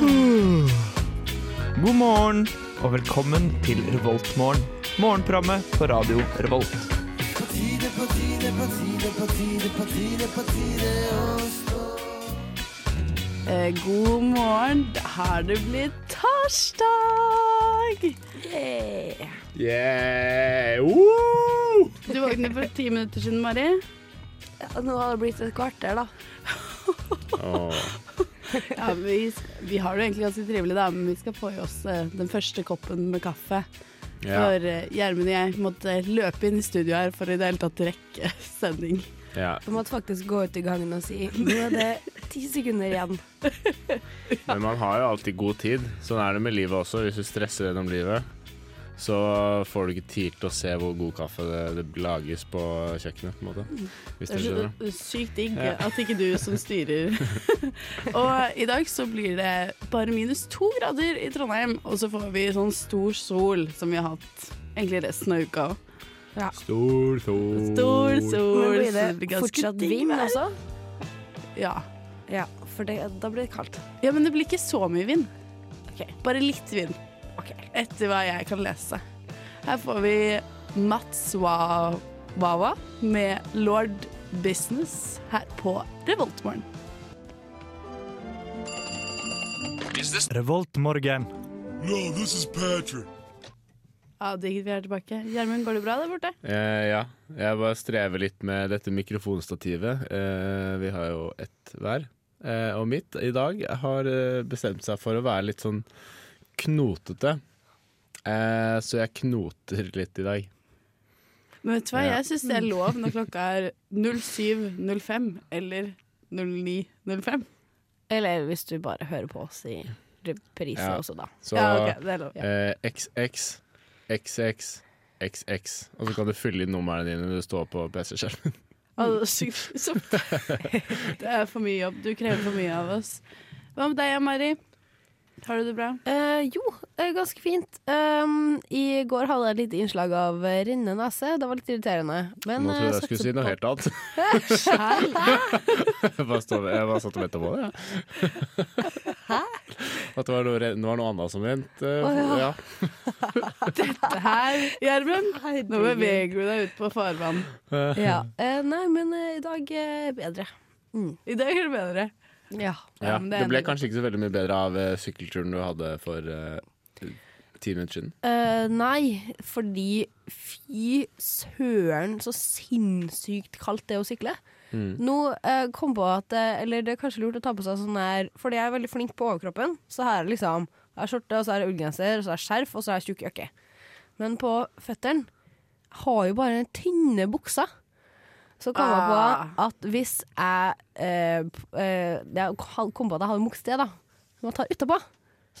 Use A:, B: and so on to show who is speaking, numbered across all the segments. A: Hmm. God morgen og velkommen til Revoltmorgen. Morgenprogrammet på radio Revolt.
B: Eh, God morgen, har det blitt torsdag!
C: Yeah! Woo!
B: Du våknet for ti minutter siden, Mari.
D: Ja, nå har det blitt et kvarter, da.
B: Ja, vi, vi har det jo egentlig ganske trivelig, da, men vi skal få i oss eh, den første koppen med kaffe.
C: Ja,
B: For eh, Gjermund og jeg måtte løpe inn i studio her for i det hele tatt å rekke sending.
C: ja.
D: Du måtte faktisk gå ut i gangen og si nå er det ti sekunder igjen.
C: Men man har jo alltid god tid. Sånn er det med livet også. Hvis du stresser gjennom livet, så får du ikke tid til å se hvor god kaffe det, det lages på kjøkkenet. på en måte. Hvis
B: Det
C: du
B: er
C: skjønner.
B: så sykt digg
C: Ja.
B: at ikke du som styrer. og eh, i dag så blir det bare minus to grader i Trondheim, og så får vi sånn stor sol som vi har hatt egentlig resten av uka òg.
C: Stor sol.
B: Stor
D: Men
B: sol,
D: blir
B: så
D: det
B: det altså? blir ganske
D: fortsatt
B: digg
D: vind
B: vær.
D: også?
B: Ja.
D: Ja, for det, da blir det kaldt.
B: ja, men det blir ikke så mye vind.
D: Ok.
B: Bare litt vind,
D: Ok.
B: etter hva jeg kan lese. Her får vi Mats Wa- Wawa med Lord Business her på Revoltmorgen.
A: Revoltmorgen.
B: Ja, digg vi er tilbake. Gjermund, går det bra der borte?
C: Eh, ja. Jeg bare strever litt med dette mikrofonstativet. Eh, vi har jo ett hver. Eh, og mitt i dag har eh, bestemt seg for å være litt sånn knotete. Eh, så jeg knoter litt i dag.
B: Men vet du hva,
C: Ja.
B: jeg syns det er lov når klokka er 07.05 eller 09.05.
D: Eller hvis du bare hører på oss i reprise
C: Ja.
D: også, da.
C: Så
B: Ja, ok, det er lov.
C: eh, XX, XX, XX. Og så kan du fylle inn numrene dine når du står på PC-skjermen.
B: Altså, sykt somt. Det er for mye jobb. Du krever for mye av oss. Hva med deg, Mari? Har du det bra?
D: Eh, jo, eh, ganske fint. Um, I går hadde jeg et lite innslag av eh, rennende nese. Det var litt irriterende. Men
C: Nå
D: eh,
C: trodde jeg skulle
D: satser
C: si noe
D: på-
C: helt annet. jeg bare stod- jeg bare satt og ventet på det. jeg. At det var noe, det var noe annet som rent. eh,
D: Å,
C: ja.
B: Her, Gjermund. Nå
D: Herregud.
B: beveger du deg ut på farvann.
D: Ja. Eh, nei, men eh, i dag er bedre.
B: I dag er det bedre.
D: Ja.
C: Ja,
B: Ja, men det
C: det,
B: er
C: ble
B: endelig.
C: kanskje ikke så veldig mye bedre av eh, sykkelturen du hadde for eh, ti minutter siden.
D: Eh, nei, fordi fy søren så sinnssykt kaldt det er å sykle. Nå eh, kom på at eh, Eller det er kanskje lurt å ta på seg sånn her Fordi jeg er veldig flink på overkroppen. Så her er det liksom Jeg har skjorte, og så er det ullgenser, og så er det skjerf, og så er det tjukk jakke. Men på føttene har jo bare den tynne buksa. Så kom jeg på
B: Ah.
D: at hvis jeg eh, p- eh, Jeg kom på at jeg har en bukse, da. Som jeg tar utapå.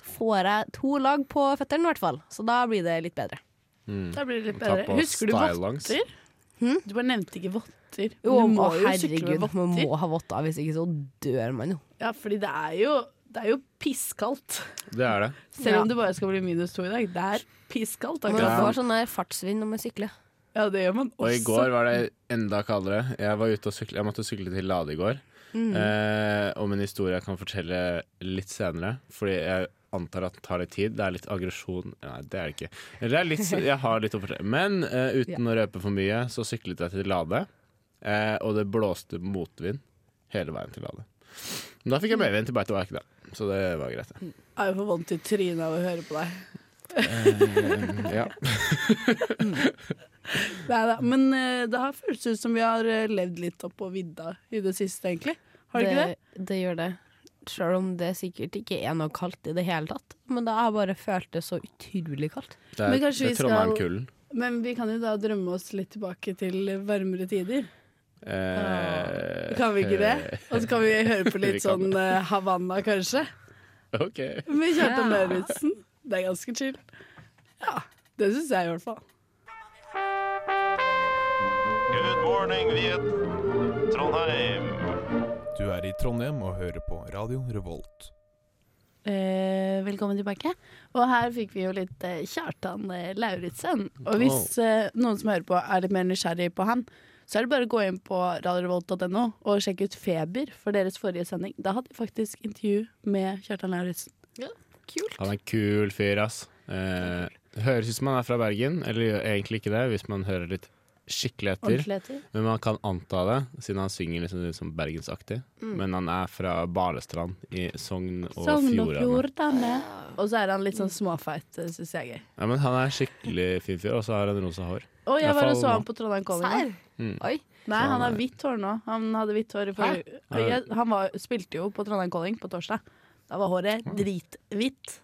D: Så får jeg to lag på føttene, i hvert fall. Så da blir det litt bedre.
B: Da blir det litt
C: Mm. Ta
B: bedre.
C: på
B: Husker du
C: stylelangs.
B: votter? Du bare nevnte ikke votter. Du
D: Jo,
B: må
D: å,
B: jo sykle med
D: herregud, man
B: votter.
D: må ha votter, hvis ikke så dør man jo.
B: Ja, fordi det er jo, det er jo pisskaldt.
C: Det er det.
B: Selv om
D: Ja.
B: det bare skal bli minus to i dag. Det er pisskaldt
D: Man
B: akkurat nå.
D: får sånn der fartsvind når man sykler.
B: Ja, det gjør man også.
C: Og i går var det enda kaldere. Jeg, var ute og sykle, jeg måtte sykle til Lade i går.
B: Mm.
C: Eh, om en historie jeg kan fortelle litt senere. Fordi jeg antar at det tar litt tid. Det er litt aggresjon Nei, det er det ikke. Eller det er litt, jeg har litt å fortelle. Men eh, uten å røpe for mye, så syklet jeg til Lade. Eh, og det blåste motvind hele veien til Lade. Men da fikk jeg medvind til Beitoverket, da. Så det var greit. det.
B: Jeg får vondt i trynet av å høre på deg.
C: Ja.
B: Neida, Men eh, det har føltes ut som vi har eh, levd litt oppå vidda i det siste, egentlig. Har det ikke det?
D: Det gjør det. Selv om det sikkert ikke er noe kaldt i det hele tatt. Men da har jeg bare følt det så utrolig kaldt.
C: Det
B: Men
C: er,
B: kanskje
C: det
B: vi
C: er
B: skal-
C: Trondheim-kulden.
B: Men vi kan jo da drømme oss litt tilbake til varmere tider.
C: Eh,
B: Ah, Kan vi ikke det? Og så kan vi høre på
C: Vi
B: litt
C: kan
B: sånn eh, Havanna, kanskje.
C: OK.
B: Med Kjartan
D: Ja.
B: Lauritzen. Det er ganske chill. Ja. Det syns jeg i hvert fall.
E: Good morning, Viet Trondheim.
F: Du er i Trondheim og hører på Radio Revolt.
B: Eh, velkommen tilbake. Og her fikk vi jo litt eh, Kjartan eh, Lauritzen. Og hvis eh, noen som hører på er litt mer nysgjerrig på han, så er det bare å gå inn på radiorevolt.no og sjekke ut Feber for deres forrige sending. Da hadde de faktisk intervju med Kjartan Lauritzen.
D: Kult.
C: Han er en kul fyr, ass. Eh, høres ut som han er fra Bergen, eller gjør egentlig ikke det, hvis man hører litt skikkelig etter.
B: Ordentlig etter.
C: Men man kan anta det, siden han synger liksom litt sånn bergensaktig.
D: Mm.
C: Men han er fra Balestrand i Sogn og
B: Sogn og
C: Fjordane.
B: Fjordane. Og så er han litt sånn småfeit, syns jeg er gøy.
C: Ja, men han er en skikkelig fin fyr, og så har han rosa hår.
B: Og
C: Ja,
B: jeg var og
C: faen,
B: så han
C: da.
B: på Trondheim Calling.
D: Serr?
C: Mm.
D: Oi.
B: da. Nei, han
C: han
B: har
C: er-
B: hvitt hår nå. Han hadde hvitt hår i forrige
C: Hæ?
B: Jeg- Han var, spilte jo på Trondheim Calling på torsdag. Da var håret drithvitt.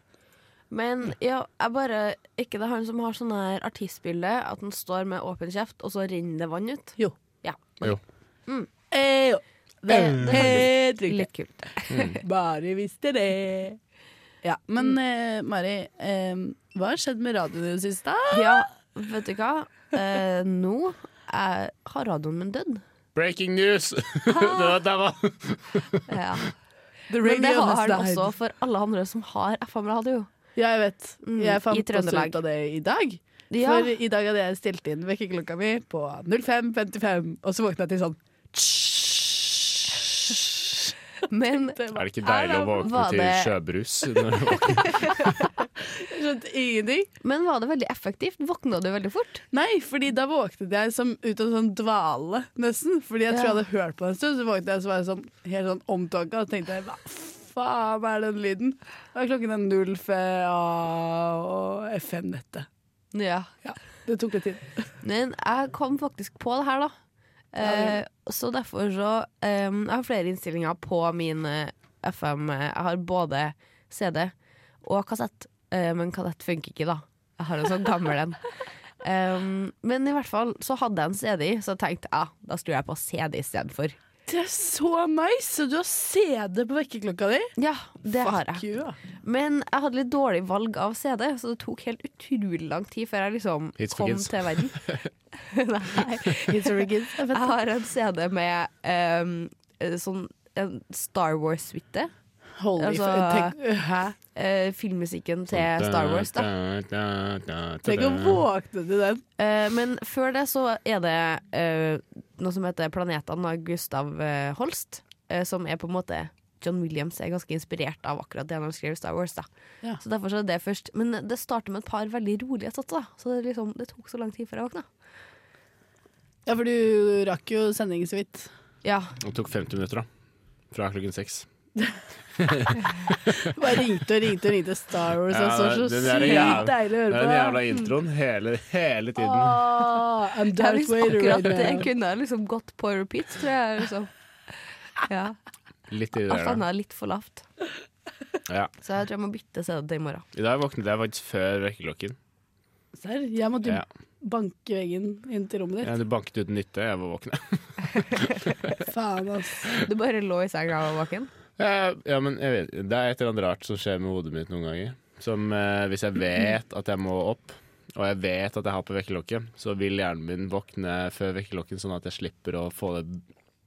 D: Men ja, jeg bare Ikke det han som har sånn her artistbilde, at han står med åpen kjeft, og så renner det vann ut?
B: Jo.
D: Ja.
C: Jo.
B: Eh, jo. Det
D: Eh,
B: helt riktig.
D: Litt kult.
B: Bare visste det. Ja, men eh, Mari, eh, hva har skjedd med radioen i det siste?
D: Ja, vet du hva? Eh, nå er, har radioen min dødd.
C: Breaking news! det var, det var.
D: Ja.
B: The
D: Men det har den også for alle andre som har FM-radio.
B: Ja, jeg vet.
D: Mm,
B: Jeg
D: i
B: fant også
D: Trøndelag.
B: ut av det i dag.
D: Ja.
B: For i dag hadde jeg stilt inn vekkerklokka mi på 05.55, og så våkna jeg til sånn
D: Men
B: Det var-
C: Er det ikke deilig å våkne
D: Var
C: til
D: det-
C: sjøbrus? Når du våkner?
B: Jeg skjønte ingenting.
D: Men var det veldig effektivt? Våkna du veldig fort?
B: Nei, fordi da våknet jeg som ut av en sånn dvale, nesten. Fordi jeg tror jeg
D: Ja.
B: hadde hørt på det en stund, så våknet jeg så var jeg sånn, helt sånn omtåka, og tenkte jeg, hva faen er den lyden? Og klokken er 05 og FM-nettet.
D: Ja.
B: Det tok litt tid.
D: Men jeg kom faktisk på det her, da. Eh, så derfor så eh, Jeg har flere innstillinger på min eh, FM. eh, Jeg har både CD og kassett, eh, men kassett funker ikke, da. Jeg har en sånn gammel en. Em, men i hvert fall så hadde jeg en CD, så jeg tenkte ja, da skrur jeg på CD istedenfor.
B: Det er så nice, så du har CD på vekkerklokka di.
D: Ja, det har jeg.
B: Fuck you, da.
D: Men jeg hadde litt dårlig valg av CD, så det tok helt utrolig lang tid før jeg liksom
C: Hits for
D: kom
C: kids.
D: til verden. Nei.
B: Jeg
D: Jeg har en CD med ehm, eh, sånn en Star Wars-suite.
B: Holy
D: Altså,
B: f- tenk, Hæ?
D: Eh, filmmusikken
C: Sånn,
D: til Star Wars, da.
B: Tenk å våkne til den.
D: Eh, men før det så er det eh, noe som heter Planetene av Gustav eh, Holst, eh, som er på en måte John Williams er ganske inspirert av akkurat det han skrev i Star Wars. da.
B: Ja.
D: Så derfor så er det først. Men det starter med et par veldig rolige satser, da. så det, liksom, det tok så lang tid før jeg våkna.
B: Ja, for du rakk jo sendingen så vidt.
D: Ja,
C: Det tok 50 minutter, da. Fra klokken seks.
B: Bare ringte og ringte og ringte Star Wars.
C: Ja,
B: altså, så
C: den der
B: sykt
C: jæv-
B: deilig å
C: Det er den
B: høre på.
C: jævla introen hele, hele tiden.
B: Åh, I'm
D: Ja,
B: Darth
D: hvis
B: Vader
D: liksom akkurat
B: right
D: det
B: now.
D: kunne jeg liksom gått på repeat, tror jeg. Liksom. Ja,
C: Litt i det
D: Alt
C: der.
D: annet er litt for lavt.
C: Ja.
D: Så jeg tror jeg må bytte CD til i morgen.
C: I dag våknet jeg faktisk før vekkerklokken.
B: Serr, jeg måtte
C: Ja.
B: banke veggen inn til rommet ditt.
C: Ja, det banket uten nytte, jeg var våken.
B: Faen, ass.
D: Du bare lå i senga og var våken?
C: Ja, ja, men jeg vet, det er et eller annet rart som skjer med hodet mitt noen ganger. Som eh, hvis jeg vet at jeg må opp, og jeg vet at jeg har på vekkerklokket, så vil hjernen min våkne før vekkerklokken, sånn at jeg slipper å få det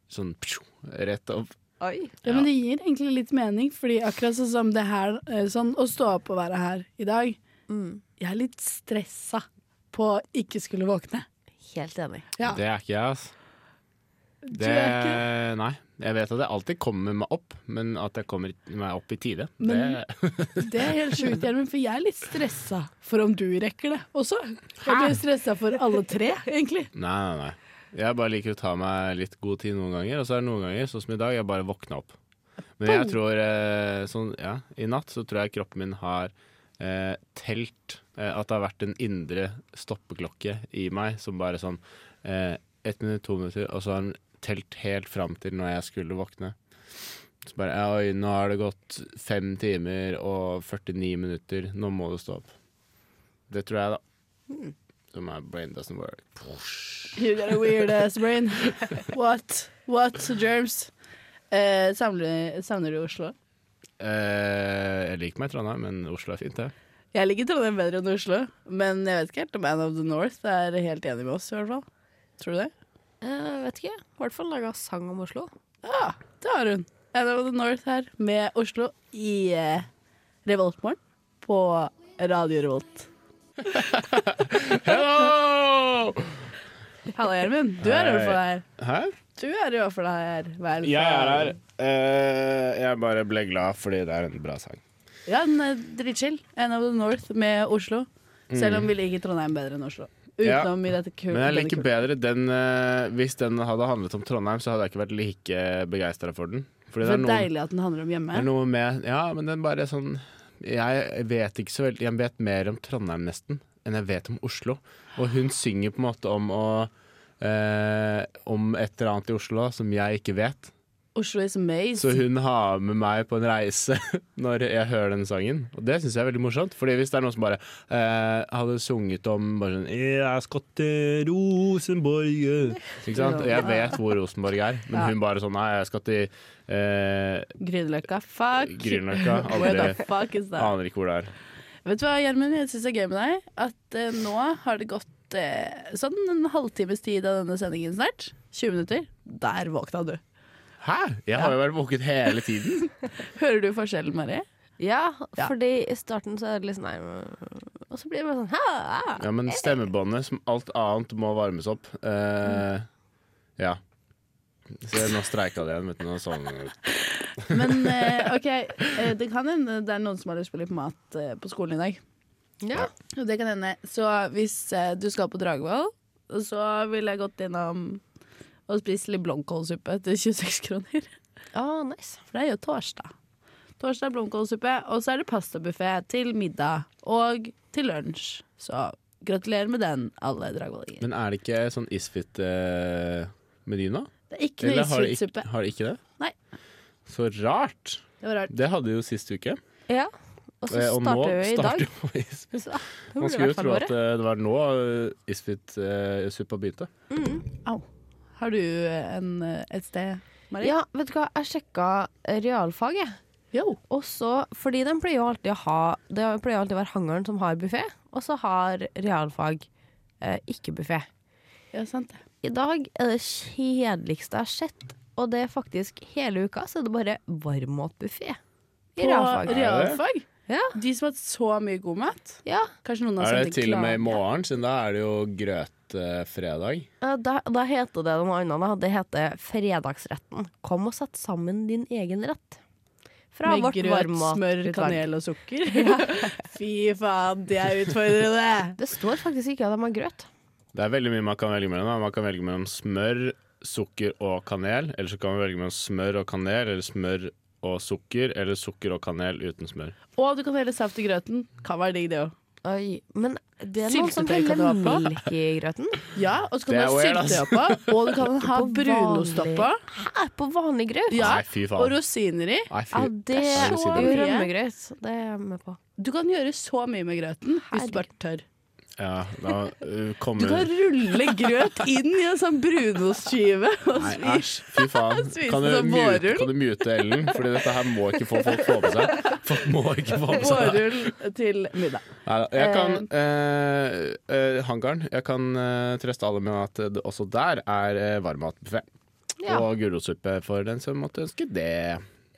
C: sånn psjo, rett opp.
D: Oi.
B: Ja, men det gir egentlig litt mening, fordi akkurat sånn som det her, eh, sånn å stå opp og være her i dag,
D: Mm.
B: jeg er litt stressa på å ikke skulle våkne.
D: Helt enig.
B: Ja.
C: Det er ikke jeg, altså.
B: Du
C: Det,
B: er ikke
C: nei. Jeg vet at jeg alltid kommer meg opp, men at jeg kommer meg opp i tide,
B: Men-
C: det
B: Det er helt sjukt, Gjermund, for jeg er litt stressa for om du rekker det også. Jeg blir stressa for alle tre, egentlig.
C: Nei, nei, nei. Jeg bare liker å ta meg litt god tid noen ganger, og så er det noen ganger, sånn som i dag, jeg bare våkna opp. Men jeg tror eh, sånn, ja, I natt så tror jeg kroppen min har eh, telt eh, at det har vært en indre stoppeklokke i meg som bare sånn eh, Ett minutt, to minutter, og så har den telt helt fram til når jeg skulle våkne. Så bare ja, Oi, nå har det gått fem timer og 49 minutter, nå må du stå opp. Det tror jeg, da. Så my brain doesn't work.
B: You got a weird ass brain. What? What germs? Eh, savner, savner du Oslo?
C: Eh, jeg liker meg i Trondheim, men Oslo er fint, det.
B: Jeg liker Trondheim bedre enn Oslo, men jeg vet ikke helt om Man of the North er helt enig med oss, i hvert fall. Tror du det?
D: Eh, vet ikke. I hvert fall laga sang om Oslo.
B: Ja, det har hun. Man of the North her med Oslo i eh, Revoltmorgen på Radio Revolt.
C: Hello!
B: Halla, Gjermund. Du er i hvert fall her.
C: Hæ?
B: Du er i hvert fall her. Vel,
C: Jeg er her. Eh, jeg bare ble glad fordi det er en bra sang.
B: Ja, den er dritchill. En of the North med Oslo. Selv om vi liker Trondheim bedre enn Oslo. Utenom i dette kule
C: Mm. Men jeg liker bedre den eh, Hvis den hadde handlet om Trondheim, så hadde jeg ikke vært like begeistra for den. Fordi det
B: For
C: er noe,
B: deilig at den handler om hjemme.
C: det er noe med Ja, men den bare sånn Jeg vet ikke så veldig Jeg vet mer om Trondheim nesten enn jeg vet om Oslo. Og hun synger på en måte om å eh, Om et eller annet i Oslo som jeg ikke vet.
B: Oslo is amazing.
C: Så hun har med meg på en reise når jeg hører den sangen. Og det syns jeg er veldig morsomt. Fordi hvis det er noen som bare eh, hadde sunget om bare sånn Jeg skal til Rosenborg Ikke sant? Og jeg vet hvor Rosenborg er, men
B: Ja.
C: hun bare sånn Nei, jeg skal til eh,
B: Grünerløkka, fuck.
C: Grünerløkka.
B: Where the
C: Aldri
B: fuck is that?
C: Aner ikke hvor det er.
B: Vet du hva, Gjermund, jeg syns det er gøy med deg at eh, nå har det gått eh, sånn en halvtimes tid av denne sendingen snart. 20 minutter. Der våkna du.
C: Hæ? Jeg har jo vært våket hele tiden.
B: Hører du forskjellen, Marie?
D: Ja,
B: Ja.
D: fordi i starten så er det litt sånn nei, Og så blir det bare sånn hæ, hæ.
C: Ja, men stemmebåndet, som alt annet, må varmes opp. Eh, ja. Så nå streika det igjen. Vet du, nå sånn
B: Men eh, OK, eh, det kan hende det er noen som har lyst på litt mat eh, på skolen i dag.
D: Ja.
B: Jo, det kan hende. Så hvis eh, du skal på Dragvoll, så ville jeg gått innom og spist litt blomkålsuppe til 26 kroner.
D: Å, nice.
B: For det er jo torsdag. Torsdag er blomkålsuppe, og så er det pastabuffé til middag og til lunsj. Så gratulerer med den, alle dragvollinger.
C: Men er det ikke sånn isfit-meny nå?
B: Det er ikke noe
C: har det
B: isfritt
C: ikke,
B: suppe.
C: har det ikke det?
B: Nei.
C: Så rart!
B: Det var rart.
C: Det hadde de jo sist uke.
D: Ja. Og så
C: eh, og nå
D: starter vi i dag.
C: starter vi på isfit.
D: Så, det
C: Man
D: blir i
C: skulle jo
D: hvert fall
C: tro
D: året.
C: at eh, det var nå eh, isfit-suppa begynte.
B: Au. Har du eh, en, eh, et sted,
C: øh,
B: Marie?
D: Ja, vet du hva, jeg sjekka realfag, jeg.
B: Jo.
D: Og så, fordi den pleier jo alltid å ha Det pleier jo alltid å være hangaren som har buffé, og så har realfag eh, ikke buffé.
B: Ja, sant det.
D: I dag er det kjedeligste jeg har sett, og det er faktisk hele uka, så er det bare varmmatbuffé. I
B: På
D: realfag.
B: realfag.
D: Ja.
B: De som har hatt så mye god mat.
D: Ja,
B: Kanskje noen har
C: Er det
B: sendt en
C: til og med i
B: klage.
C: morgen, siden da er det jo grøtfredag?
D: eh, da, da heter det noe annet. Da. Det heter fredagsretten. Kom og sett sammen din egen rett. Fra
B: Med
D: vårt
B: grøt, smør,
D: varmmatutvalg.
B: kanel og sukker. Fy faen, det er utfordrende!
D: Det står faktisk ikke at de har grøt.
C: Det er veldig mye man kan velge mellom. da. Man kan velge mellom smør, sukker og kanel. Eller så kan man velge mellom smør og kanel, eller smør og sukker, eller sukker og kanel uten smør.
B: Og du kan helle saft i grøten. Kan være digg, det òg.
D: Oi, men det er noen som
B: Syltetøy kan
D: heller
B: du ha på.
D: melk i grøten.
B: Ja, og så kan
C: Det
B: du
C: er
B: ha
C: weird,
B: syltetøy
C: altså.
B: oppå, og du kan ha
D: På
B: brunost
D: vanlig-
B: oppå.
D: Hæ, på vanlig grøt?
B: Ja,
C: Nei, fy
B: og
C: faen.
B: rosiner i.
C: Nei, fy.
D: Ja, det
C: Æsj, det
D: er jo
C: sier
B: det.
D: rømmegrøt. Det er jeg med på.
B: Du kan gjøre så mye med grøten hvis du bare tør.
C: Ja, da uh,
B: Du
C: kommer
B: kan rulle grøt inn i en sånn brunostskive. og
C: Nei,
B: svi-
C: æsj. Fy faen.
B: Spise
C: Kan du,
B: som
C: mute,
B: vårrull.
C: kan du mute Ellen? Fordi dette her må ikke få folk få med seg. Folk må ikke få med seg det.
B: Vårrull til middag.
C: Neida, Jeg kan eh, eh, Hangaren. Jeg kan eh, trøste alle med at det også der er eh, varmmatbuffé.
D: Ja.
C: Og gulrotsuppe for den som måtte ønske det.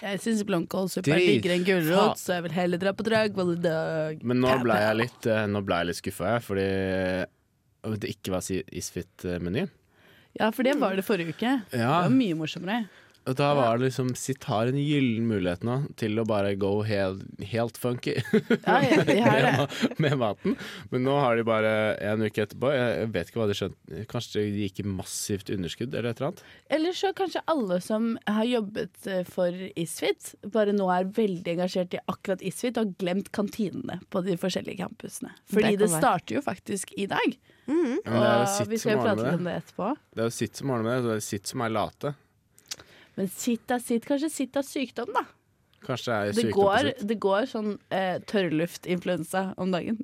B: Jeg syns blomkålsuppe er
C: Drit.
B: diggere enn
C: Faen.
B: gulrot, så jeg vil heller dra på Dragvoll i dag.
C: Men nå
B: Pæ,
C: ble
B: pæ.
C: jeg litt, eh, nå ble jeg litt skuffa, jeg, fordi eh, det ikke var si- isfit-menyen.
B: Ja, for det var det forrige uke. Det
C: Ja,
B: var mye morsommere.
C: og da var det liksom Sitt har en gyllen mulighet nå til å bare go helt, helt funky.
B: Ja, ja, de har det.
C: med, med maten. Men nå har de bare en uke etterpå. Jeg jeg vet ikke hva de skjønte. Kanskje det gikk i massivt underskudd eller et eller annet.
B: Eller så kanskje alle som har jobbet eh, for Isfit, bare nå er veldig engasjert i akkurat Isfit og har glemt kantinene på de forskjellige campusene. Fordi
D: kan
B: det,
D: være.
B: starter jo faktisk i dag.
C: Men det er jo
B: og Mm. vi skal
C: sitt som
B: jo
C: ordner
B: prate litt om
C: med det.
B: det etterpå.
C: Det er jo sitt som ordner med det, så det er sitt som er late.
B: Men sitt er sitt. Kanskje sitt er sykdom, da.
C: Kanskje det er
B: Det
C: sykdom på
B: går,
C: sitt.
B: det går sånn eh, tørrluftinfluensa om dagen.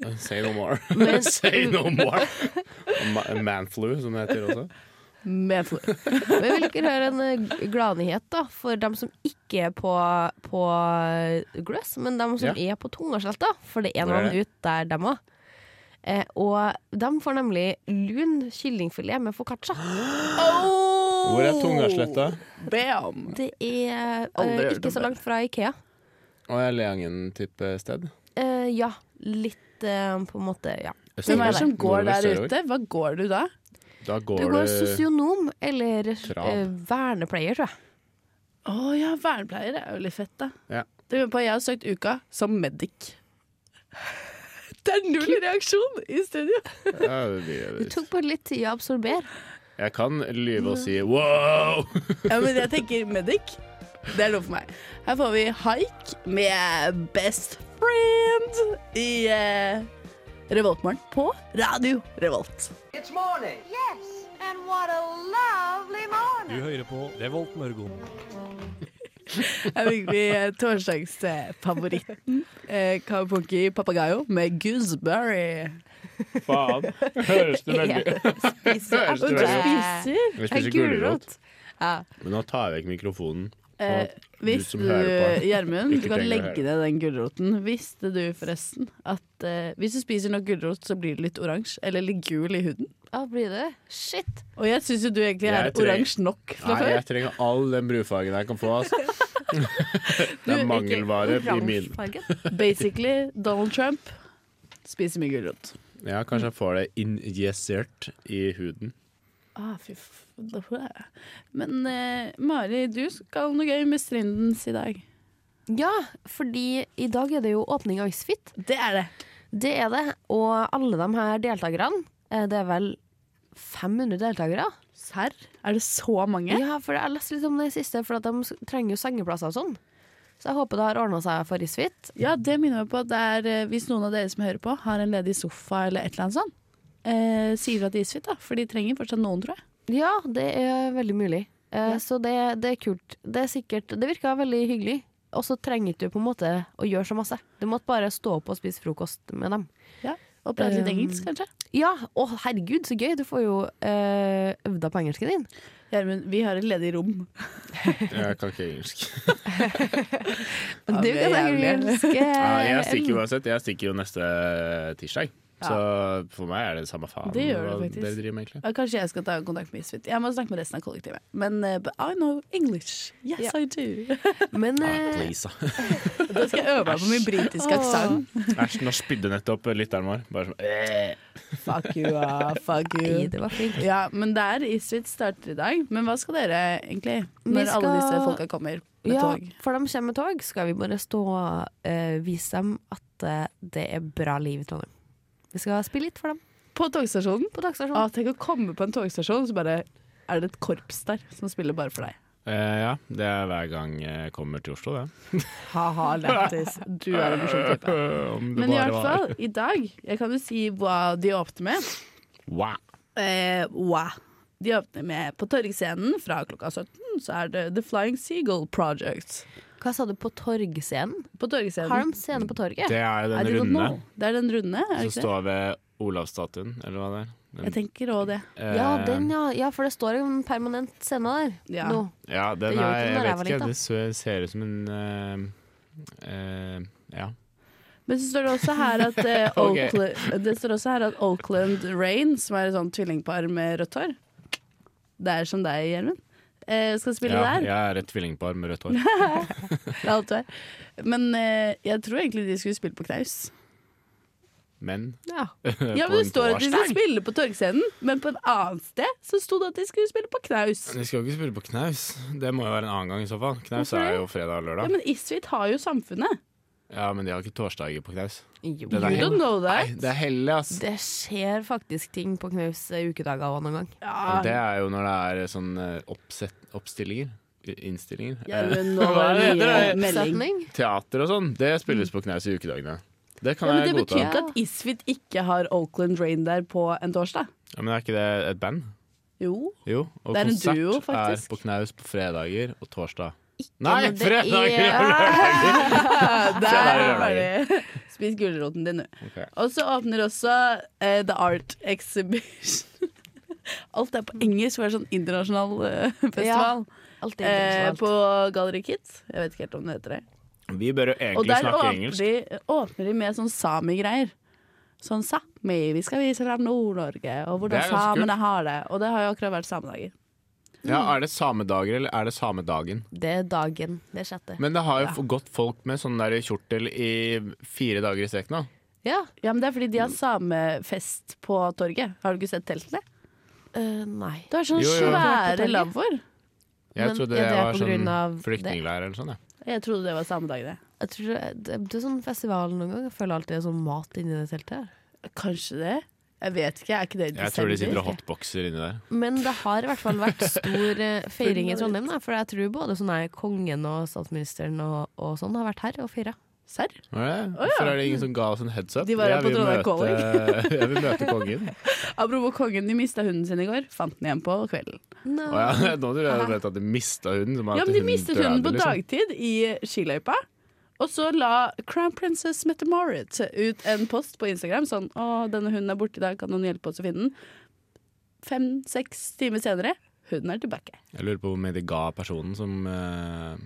C: Eh, Say no more. Say no more. Ma- Manflu, som det heter også.
B: Med flu.
D: Men jeg vil ikke høre en eh, gladnyhet da, for dem som ikke er på, på Grøss, men dem som er på Tungasletta, for det er
C: Hvor er
D: noen
C: det?
D: ut der dem òg. Eh, og de får nemlig lun kyllingfilet med foccaccia.
C: Hvor er Tungasletta?
B: Bam!
D: Det er
B: Aldri
D: eh,
B: hørt om
D: ikke så
B: det.
D: langt fra Ikea.
C: Og er Leangen-type sted?
D: Eh, ja, litt eh, på en måte, ja.
B: Hvem er det som går
C: Nordover,
B: der
C: sørover.
B: ute? Hva går du da?
C: Da
D: Du
C: går
D: går
C: det
D: sosionom eller eh,
C: Trav.
D: vernepleier, tror jeg.
B: Å ja, vernepleier er jo litt fett, da.
C: ja.
B: Det lurer jeg på, jeg har søkt uka som medic. Det er null reaksjon i studio!
C: Ja, det blir
D: Det tok bare litt tid å absorbere.
C: Jeg kan lyve og si wow!
B: Ja, men jeg tenker medic. Det er lov for meg. Her får vi Haik med Best Friend i eh, Revoltmorgen på Radio Revolt.
G: It's morning. Yes, and what a lovely morning.
F: hører på Revolt Mørgon.
B: Det er virkelig eh, torsdagsfavoritten. Eh, Kawapunki Papagayo med Gooseberry.
C: Faen. Høres det veldig
D: Spiser
C: Høres det
B: Du
C: veldig
D: apple.
B: spiser.
C: Vi
D: Er
C: spiser gulrot.
D: gulrot. Ja.
C: Men nå tar jeg vekk mikrofonen.
B: Eh, hvis
C: som
B: du,
C: hører på.
B: Gjermund, du
C: Ikke
B: kan
C: trenger å
B: legge ned den gulroten. Visste du forresten at eh, hvis du spiser nok gulrot, så blir du litt oransje? Eller litt gul i huden?
D: Ah, blir det? Shit.
B: Og jeg syns jo du egentlig er
C: Jeg tror-
B: oransje nok fra
C: Nei,
B: før.
C: jeg trenger all den brunfargen jeg kan få. Altså.
B: Du,
C: Det er
B: ikke
C: mangelvare i min
D: Oransjefargen.
B: Basically, Donald Trump spiser mye gulrot.
C: Ja, Kanskje jeg får det injisert i huden.
B: Ah, fy f... Men eh, Mari, du skal noe gøy med Strindens i dag.
D: Ja, fordi i dag er det jo åpning av Isfit.
B: Det er det.
D: Det er det. Og alle de her deltakerne, eh, det er vel 500 deltakere?
B: Serr? Er det så mange?
D: Ja, for jeg har lest litt om det siste, for at de s- trenger jo sengeplasser og sånn. Så jeg håper det har ordna seg for Isfit.
B: Ja, det minner meg på at det er, eh, hvis noen av dere som hører på, har en ledig sofa eller et eller annet sånt, eh, si ifra til Isfit, da. For de trenger fortsatt noen, tror jeg.
D: Ja, det er veldig mulig. Eh, Så det, det er kult. Det er sikkert Det virka veldig hyggelig. Og så trenger ikke du på en måte å gjøre så masse. Du måtte bare stå opp og spise frokost med dem.
B: Og prate litt
D: Um,
B: engelsk, kanskje.
D: Ja, å herregud, så gøy! Du får jo eh, øvd deg på engelsken din.
B: Gjermund, vi har et ledig rom.
C: Jeg kan ikke engelsk.
B: Ja,
D: du
B: det
D: kan
B: er
D: snakke
B: jævlig.
D: engelsk.
C: Nei,
B: Eh,
C: jeg stikker uansett. Jeg stikker jo neste tirsdag. Så for meg er det samme faen
B: Det gjør det
C: hva
B: faktisk.
C: dere driver med, egentlig.
B: Ja, kanskje jeg skal ta kontakt med Isfit. Jeg må snakke med resten av kollektivet. Men eh, but I know English. Yes,
D: Ja.
B: I do.
D: Men
B: Ah,
C: Ja,
D: eh,
C: Ah, please, da.
B: Da skal jeg øve meg på min britiske aksent.
C: Æsj, nå spydde nettopp lytteren vår. Bare sånn eh.
B: Fuck you, ah, fuck
D: Nei,
B: you.
D: det var fint.
B: Ja, men der Isfit starter i dag. Men hva skal dere egentlig?
D: Vi
B: Når alle
D: skal-
B: disse folka kommer med
D: Ja,
B: tog?
D: for de kommer med tog, skal vi bare stå og eh, vise dem at eh, det er bra liv i Trondheim. Vi skal spille litt for dem
B: På togstasjonen?
D: på togstasjonen.
B: Ah, tenk å komme på en togstasjon, så bare er det et korps der som spiller bare for deg.
C: Eh, ja, det er hver gang jeg kommer til Oslo, det.
B: Ha-ha, lættis. Du er en morsom type.
C: Om det
B: Men i
C: bare
B: hvert
C: var-
B: fall, i dag Jeg kan jo si hva de åpner med.
C: Wow.
B: Eh, wow. De åpner med på Torgscenen fra klokka 17, så er det The Flying Seagull Project.
D: Hva sa du på torgscenen?
B: På Torgscenen.
D: Har de scene på torget?
C: Det er jo
B: I
C: den
B: don't
C: runde
B: know. Det er den runde, er det
C: som
B: ikke det?
C: står ved Olavsstatuen, eller hva det er.
B: Jeg tenker òg det.
C: Eh,
D: Ja, den, ja. ja, for det står en permanent scene der
B: Ja.
D: nå.
C: Ja, den
D: Det
C: er,
D: gjør ikke
C: jeg
D: den der jeg
C: vet
D: var
C: ikke,
D: liten.
C: det ser, ser ut som en eh, eh, Ja.
B: Men så står det også her at, eh,
C: Ok.
B: Oakland, det står også her at Oakland Rain, som er et sånt tvillingpar med rødt hår Det er som deg, Gjermund. Eh, skal spille
C: ja
B: der.
C: jeg er et tvillingpar med rødt hår.
B: Det er alt du er. Men eh, jeg tror egentlig de skulle spille på knaus.
C: Men
D: Ja.
B: Ja, men Det står at de skulle spille på Torgscenen, men på et annet sted så sto det at de skulle spille på knaus.
C: De skal jo ikke spille på knaus. Det må jo være en annen gang i så fall. Knaus
B: Hvorfor
C: er
B: det?
C: jo fredag og
B: Ja,
C: lørdag.
B: Men Isfit har jo Samfunnet.
C: Ja, Men de har ikke torsdager på knaus.
D: Jo.
C: Det er
B: You don't know that.
C: Nei, det er hellig, ass.
D: Det skjer faktisk ting på knaus eh, ukedager og noen gang.
B: Ja,
C: Det er jo når det er sånn eh, oppsett, oppstillinger. Innstillinger. Eh,
B: Gjermund, nå
C: Hva
B: var det
C: er det
B: mye
C: heter
B: melding.
D: Setning?
C: teater og sånn, det spilles på knaus i ukedagene. Det
B: Mm. Ja,
C: kan
B: men
C: jeg
B: det
C: godta.
B: betyr ikke at Isfit ikke har Oakland Rain der på en torsdag.
C: Ja, men er ikke det et band?
B: Jo.
C: Jo. Og
B: Det er en
C: konsert
B: duo,
C: er
B: faktisk.
C: på knaus på fredager og torsdag. Nei,
D: men det
C: fredager!
D: er-
C: og lørdager!
B: Der
C: gjør
B: var
C: det.
B: det. Spis gulroten din, du.
C: Ok.
B: Og så åpner også eh, The Art Exhibition. Alt er på engelsk, for det er sånn internasjonal eh, festival.
D: Alt er
B: eh,
D: internasjonalt.
B: på Gallery Kids. Jeg vet ikke helt om det heter det.
C: Vi bør jo
B: Og
C: egentlig
B: der
C: snakke
B: åpner
C: engelsk.
B: de, åpner de med sånn sami-greier. Sånn sami, vi skal vise fram Nord-Norge og
C: Det
B: hvordan
C: er ganske
B: samene har det. Og det har jo akkurat vært samedager.
C: Ja, Er det samedager, eller er det samedagen?
D: Det er dagen. Det er sjette.
C: Men det har jo f- gått folk med sånn der kjortel i fire dager i strekk nå.
D: Ja.
B: Ja, men Det er fordi de har samefest på torget. Har du ikke sett teltene?
D: Eh, nei.
B: Det er sånne
C: Jo, jo.
B: svære
D: På torget?
B: lavvoer.
C: Jeg
D: Men
C: trodde
D: er
C: det
D: det
C: var
D: på grunn
C: sånn
D: av det?
C: flyktningleir eller sånn. Ja.
B: Jeg trodde det var samme dag, det.
D: Jeg tror det, det, det er sånn festival noen gang. Jeg føler alltid det er sånn mat inni det teltet. her.
B: Kanskje det? Jeg vet ikke. Er ikke det i
C: Jeg tror de sitter
B: desember?
C: og hotboxer inni der.
D: Men det har i hvert fall vært stor eh, feiring i Trondheim, da, for jeg tror både sånn her kongen og statsministeren og, og sånn har vært her og feira.
B: Serr?
C: Å ja. Hvorfor er det ingen som ga oss en heads up?
B: De var her
C: Jeg
B: på
C: vil
B: Trondheim
C: møte-
B: Calling.
C: Jeg vil møte kongen.
B: Apropos kongen, de mista hunden sin i går. Fant den igjen på kvelden.
C: Å ja, nå tror jeg du vet at de mista hunden. Som
B: Ja,
C: at
B: men De
C: hun
B: mistet hunden på
C: døde, liksom.
B: dagtid i skiløypa. Og så la Crown Princess Mette Marit ut en post på Instagram sånn Å, denne hunden er borte i dag, kan noen hjelpe oss å finne den? Fem-seks timer senere, hunden er tilbake.
C: Jeg lurer på hvor mye de ga personen som eh,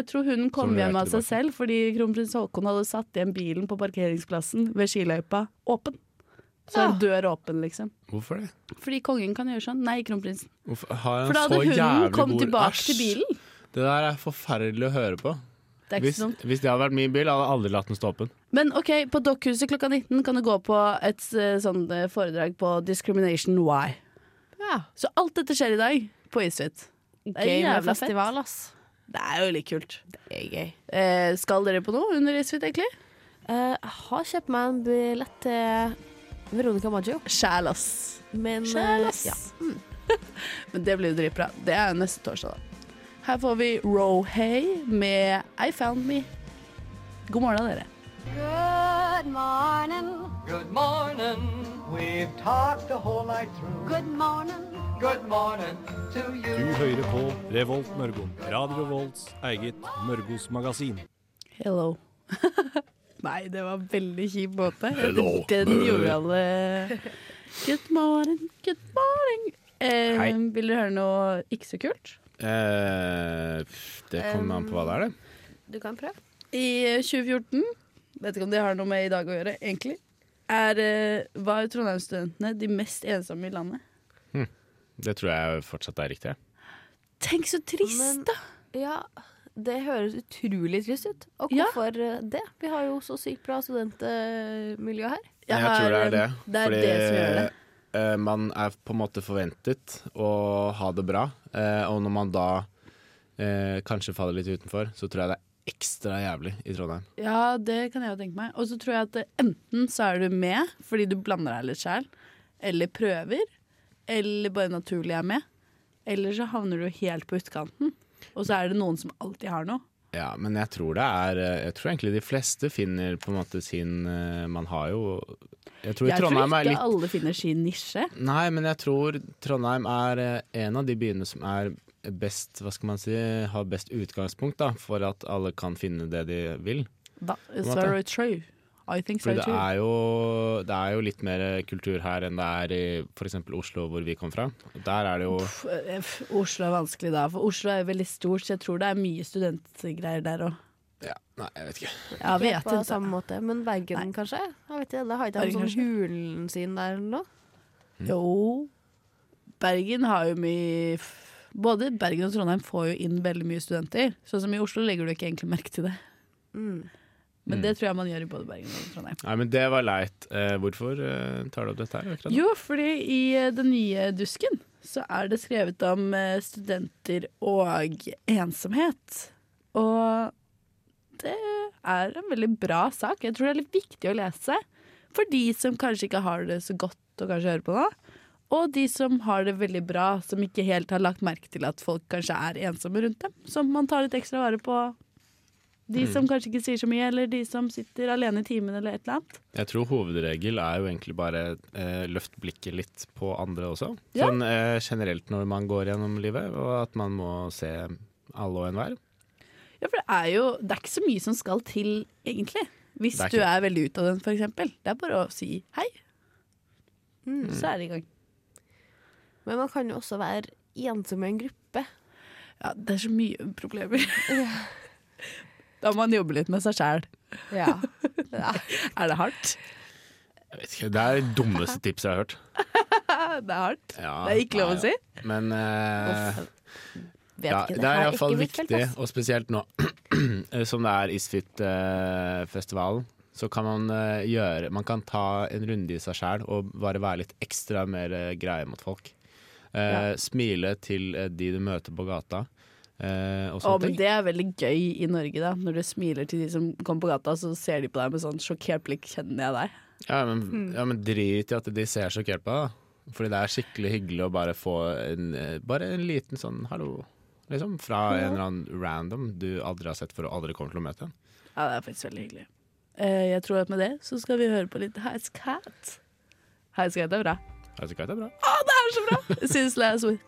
B: Jeg tror hunden kom
C: Som leverte
B: hjem av seg
C: tilbake.
B: selv fordi kronprins Haakon hadde satt igjen bilen på parkeringsplassen ved skiløypa åpen. Så en dør åpen, liksom.
C: Hvorfor det?
B: Fordi kongen kan gjøre sånn. Nei, kronprinsen.
C: Hvorfor har han
B: For da
C: så
B: hadde
C: jævlig
B: hunden kommet
C: god-
B: tilbake
C: Æsj!
B: til bilen.
C: Det der er forferdelig å høre på.
B: Det er ikke
C: Hvis,
B: sånn.
C: hvis det hadde vært min bil, hadde jeg aldri latt den stå Eh, åpen.
B: Men ok, på Dokkhuset klokka 19 kan du gå på et eh, sånn eh, foredrag på Discrimination Why.
D: Ja.
B: Så alt dette skjer i dag på Isfit. Det er
D: Gøy med
B: jævla fett.
D: festival, ass.
B: Det er jo litt kult.
D: Det er gøy.
B: Eh, skal dere på noe under Isfit, egentlig?
D: Eh, jeg har kjøpt meg en billett til Veronica Maggio,
B: Sjæl, ass.
D: men eh,
B: Sjæl, ass.
D: ja.
B: Men det blir jo dritbra. Det er jo neste torsdag, da. Her får vi Rohay med I Found Me. God morgen, dere.
G: Good morning.
H: Good morning. We've talked the whole night through.
G: Good morning.
H: Good morning to you.
I: Du hører på Revolt Mørgo. Radio Revolts eget Mørgos magasin.
B: Hello. Nei, det var veldig kjip måte. Hello. Den gjorde alle Good morning, good morning. Eh,
C: Hei.
B: vil dere høre noe ikke så kult?
C: Eh, pff, det kommer an på hva det er, det.
D: Du kan prøve.
B: I 2014, vet ikke om det har noe med i dag å gjøre, egentlig, er, eh, var Trondheim-studentene de mest ensomme i landet.
C: Det tror jeg fortsatt er riktig.
B: Tenk så trist,
D: Men-
B: da!
D: Ja, det høres utrolig trist ut. Og
B: Ja.
D: hvorfor eh, det? Vi har jo så sykt bra studentmiljø her.
C: Jeg,
B: har,
C: tror det er det.
B: eh, Det er det som gjør det.
C: eh, man er på en måte forventet å ha det bra, eh, og når man da eh, kanskje faller litt utenfor, så tror jeg det er ekstra jævlig i Trondheim.
B: Ja, det kan jeg jo tenke meg. Og så tror jeg at eh, enten så er du med fordi du blander deg litt sjæl, eller prøver, eller bare naturlig er med. Eller så havner du helt på utkanten, og så er det noen som alltid har noe.
C: Ja, men jeg tror det er eh, Jeg tror egentlig de fleste finner på en måte sin eh, Man har jo Jeg tror
B: Jeg tror
C: Trondheim
B: ikke
C: er litt
B: alle finner sin nisje.
C: Nei, men jeg tror Trondheim er eh, en av de byene som er best Hva skal man si har best utgangspunkt da for at alle kan finne det de vil.
B: That is
C: måte.
B: very true. I think so
C: For det
B: too.
C: er jo, det er jo litt mer kultur her enn det er i f.eks. Oslo, hvor vi kom fra. Der er det jo
B: Pff, eh, pff, Oslo er vanskelig da, for Oslo er jo veldig stort, så jeg tror det er mye studentgreier der òg.
C: ja, Nei, jeg vet ikke.
B: Ja, jeg vet
D: på
B: ikke.
D: samme måte. Men Bergen,
B: Nei.
D: kanskje? Jeg vet ikke, da Har ikke de
B: Bergen,
D: sånn
B: kanskje?
D: hulen sin der eller noe?
B: Jo, Bergen har jo mye f- Både Bergen og Trondheim får jo inn veldig mye studenter. Sånn som i Oslo legger du ikke egentlig merke til det. Men det tror jeg man gjør i både Bergen og Trondheim.
C: Nei, men det var leit. Eh, hvorfor eh, tar du opp dette her akkurat nå?
B: Jo, fordi i eh, den nye dusken så er det skrevet om eh, studenter og ensomhet. Og det er en veldig bra sak. Jeg tror det er litt viktig å lese. For de som kanskje ikke har det så godt og kanskje hører på nå. Og de som har det veldig bra, som ikke helt har lagt merke til at folk kanskje er ensomme rundt dem. Som man tar litt ekstra vare på. De
C: Mm.
B: som kanskje ikke sier så mye, eller de som sitter alene i timen, eller et eller annet.
C: Jeg tror hovedregel er jo egentlig bare eh, løft blikket litt på andre også.
B: Ja.
C: Sånn eh, generelt når man går gjennom livet, og at man må se alle og enhver.
B: Ja, for det er jo det er ikke så mye som skal til, egentlig. Hvis
C: Det er
B: du
C: ikke det.
B: er veldig utadvendt, f.eks. Det er bare å si hei. Så er det i gang.
D: Mm. Men man kan jo også være ensom i en gruppe.
B: Ja, det er så mye problemer. da må man jobbe litt med seg sjæl.
D: Ja.
B: Er det hardt?
C: Jeg vet ikke, Det er det dummeste tipset jeg har hørt.
B: Ja, Det er hardt.
C: Ja,
B: Det er ikke lov å
C: nei,
B: si.
C: Men eh,
D: Vet
C: ja, det
D: ikke,
C: er
D: her
C: i hvert fall
D: ikke mitt felt,
C: viktig,
D: ass.
C: og spesielt nå eh, som det er Isfit-festivalen. så kan man eh, gjøre Man kan ta en runde i seg sjæl og bare være litt ekstra mer eh, greie mot folk. Eh, Smile til eh, de du møter på gata. eh, og
B: Å,
C: sånne
B: men
C: ting.
B: det er veldig gøy i Norge, da. Når du smiler til de som kommer på gata, så ser de på deg med sånn sjokkert blikk. Kjenner jeg deg?
C: Ja,
D: Mm.
C: men, ja, men drit i at de ser sjokkert på deg, da. Fordi det er skikkelig hyggelig å bare få en, eh, bare en liten sånn hallo, liksom. Fra en eller annen random du aldri har sett for og aldri kommer til å møte igjen.
B: Ja, det er faktisk veldig hyggelig. Eh, jeg tror at med det så skal vi høre på litt Highs Cat. Highs Cat er bra.
C: Jeg synes ikke det er bra.
B: Since last week.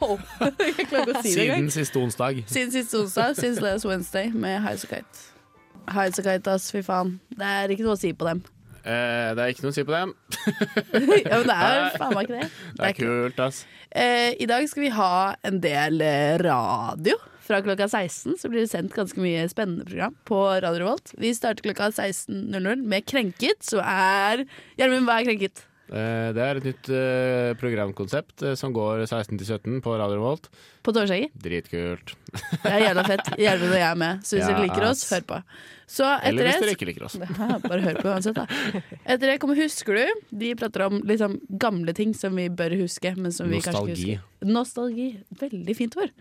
B: Oh. Jeg klarer ikke å si det engang.
C: Siden siste onsdag.
B: Siden sist onsdag, since last Wednesday med Highs Kite. Highs Kite, ass, fy faen. Det er ikke noe å si på dem.
C: Eh, det er ikke noe å si på dem.
B: ja, men det er faen meg ikke det.
C: Det er kult, ass.
B: Eh, I dag skal vi ha en del eh, radio. Fra klokka 16 så blir det sendt ganske mye spennende program på Radio Revolt. Vi starter klokka 16.00 med Krenket, så er Gjermund, hva er Krenket?
C: Eh, det er et nytt eh, programkonsept eh, som går 16 til 17 på Radio Revolt.
B: På torsdager?
C: Dritkult.
B: Det er jævla fett. Gjermund og jeg er med. Så hvis
C: Ja,
B: dere liker oss,
C: ass.
B: hør på. Så etter
C: Eller hvis
B: det
C: dere ikke liker oss.
B: Ja, bare hør på uansett, da. Etter det kommer Husker du? De prater om liksom, gamle ting som vi bør huske. Men som vi kanskje ikke
C: Nostalgi.
B: husker. Nostalgi. Veldig fint ord.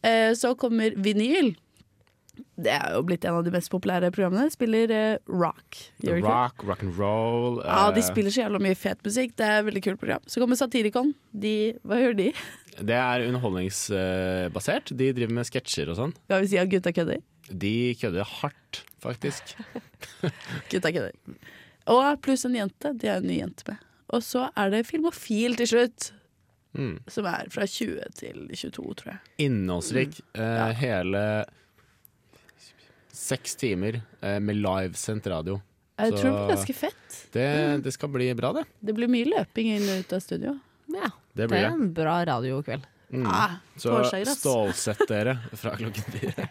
B: Eh, så kommer vinyl. Det er jo blitt en av de mest populære programmene. Spiller eh, rock. Gjør det ikke?
C: Rock, rock and roll. eh,
B: Ja, De spiller så jævla mye fet musikk. Det er et veldig kult program. Så kommer Satirikon. De, hva gjør de?
C: Det er underholdningsbasert. De driver med sketsjer og sånn.
B: Skal vi si at gutta kødder?
C: De kødder hardt, faktisk.
B: Gutta kødder. Og pluss en jente. De har en ny jente med. Og så er det Filmofil til slutt.
C: Mm.
B: Som er fra 20 til 22, tror jeg.
C: Innholdsrik.
B: Mm.
C: Eh, hele seks timer eh, med livesendt radio.
B: Jeg
C: Så-
B: tror det blir ganske fett. Mm.
C: Det, det skal bli bra, det.
B: Det blir mye løping inn og ut av studio.
D: Ja,
C: Det
D: det
C: blir
D: er
C: det.
D: en bra radiokveld.
C: Mm.
B: Ah,
C: Så
B: torsdager, ass.
C: stålsett dere fra klokken fire.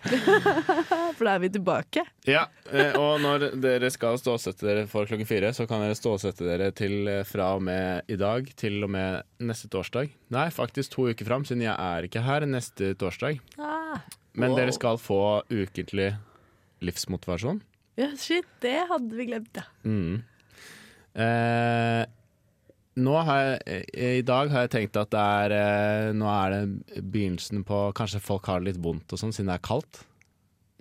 B: For da er vi tilbake.
C: Ja, eh, og når dere skal stålsette dere for klokken fire, så kan dere stålsette dere til eh, fra og med i dag til og med neste torsdag. Nei, faktisk to uker fram, siden jeg er ikke her neste torsdag. Men dere skal få ukentlig livsmotivasjon.
B: Ja, shit, det hadde vi glemt, ja.
C: Mm. Eh, nå har jeg, eh, I dag har jeg tenkt at det er eh, Nå er det begynnelsen på Kanskje folk har det litt vondt og sånn, siden det er kaldt.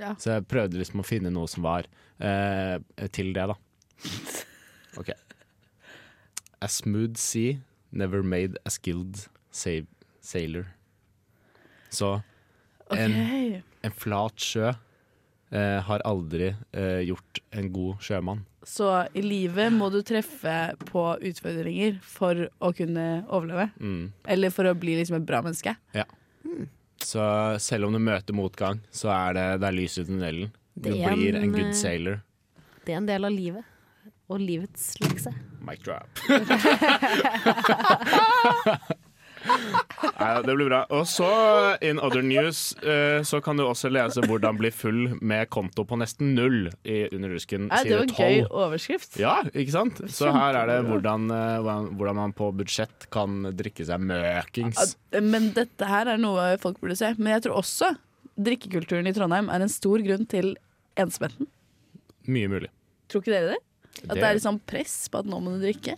B: Ja.
C: Så jeg prøvde liksom å finne noe som var eh, til det, da. OK. A smooth sea never made a skilled sa- sailor. Så en,
B: Ok.
C: en flat sjø eh, har aldri eh, gjort en god sjømann.
B: Så i livet må du treffe på utfordringer for å kunne overleve.
C: Mm.
B: Eller for å bli liksom et bra menneske.
C: Så selv om du møter motgang, så er det, det er lys i tunnelen. Du
D: Det er
C: blir en
D: en,
C: good
D: eh,
C: sailor.
D: Det er en del av livet. Og livets lekse.
C: Mic drop. Nei, det blir bra. Og så, in other news, eh, så kan du også lese 'Hvordan bli full med konto på nesten null' i Under rusken
B: Nei, det
C: side
B: var en gøy
C: 12.
B: overskrift.
C: Ja, ikke sant? Så her er det hvordan, eh, hvordan- hvordan man på budsjett kan drikke seg møkings.
B: At- Men dette her er noe folk burde se. Men jeg tror også drikkekulturen i Trondheim er en stor grunn til ensomheten.
C: Mye mulig.
B: Tror ikke dere det? At det,
C: Det-
B: er litt sånn press på at nå må du drikke.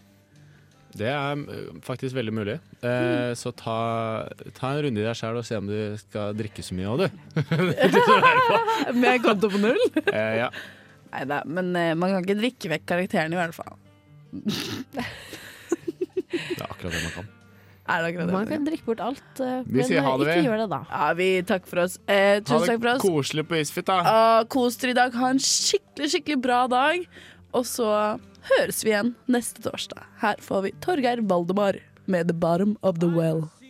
C: Det er eh, faktisk veldig mulig. Eh,
B: Hmm.
C: Så ta, ta en runde i deg sjæl og se om du skal drikke så mye òg, du.
B: Med konto på null.
C: Eh, ja.
B: Neida, men eh, man kan ikke drikke vekk karakteren i hvert fall.
C: Det er akkurat det man kan.
B: Er det akkurat
D: Man
B: det?
D: kan drikke bort alt, eh,
C: Vi
D: men
C: sier ha
D: eh,
C: det,
D: ikke
C: vi.
D: gjør det, da.
B: Ja, vi takker for oss. Eh, tusen takk for oss.
C: koselig på Isfit, da.
B: Ah, Kos dere i dag. Ha en skikkelig, skikkelig bra dag. Og så høres vi igjen neste torsdag. Her får vi Torgeir Valdemar med The Bottom of the Well.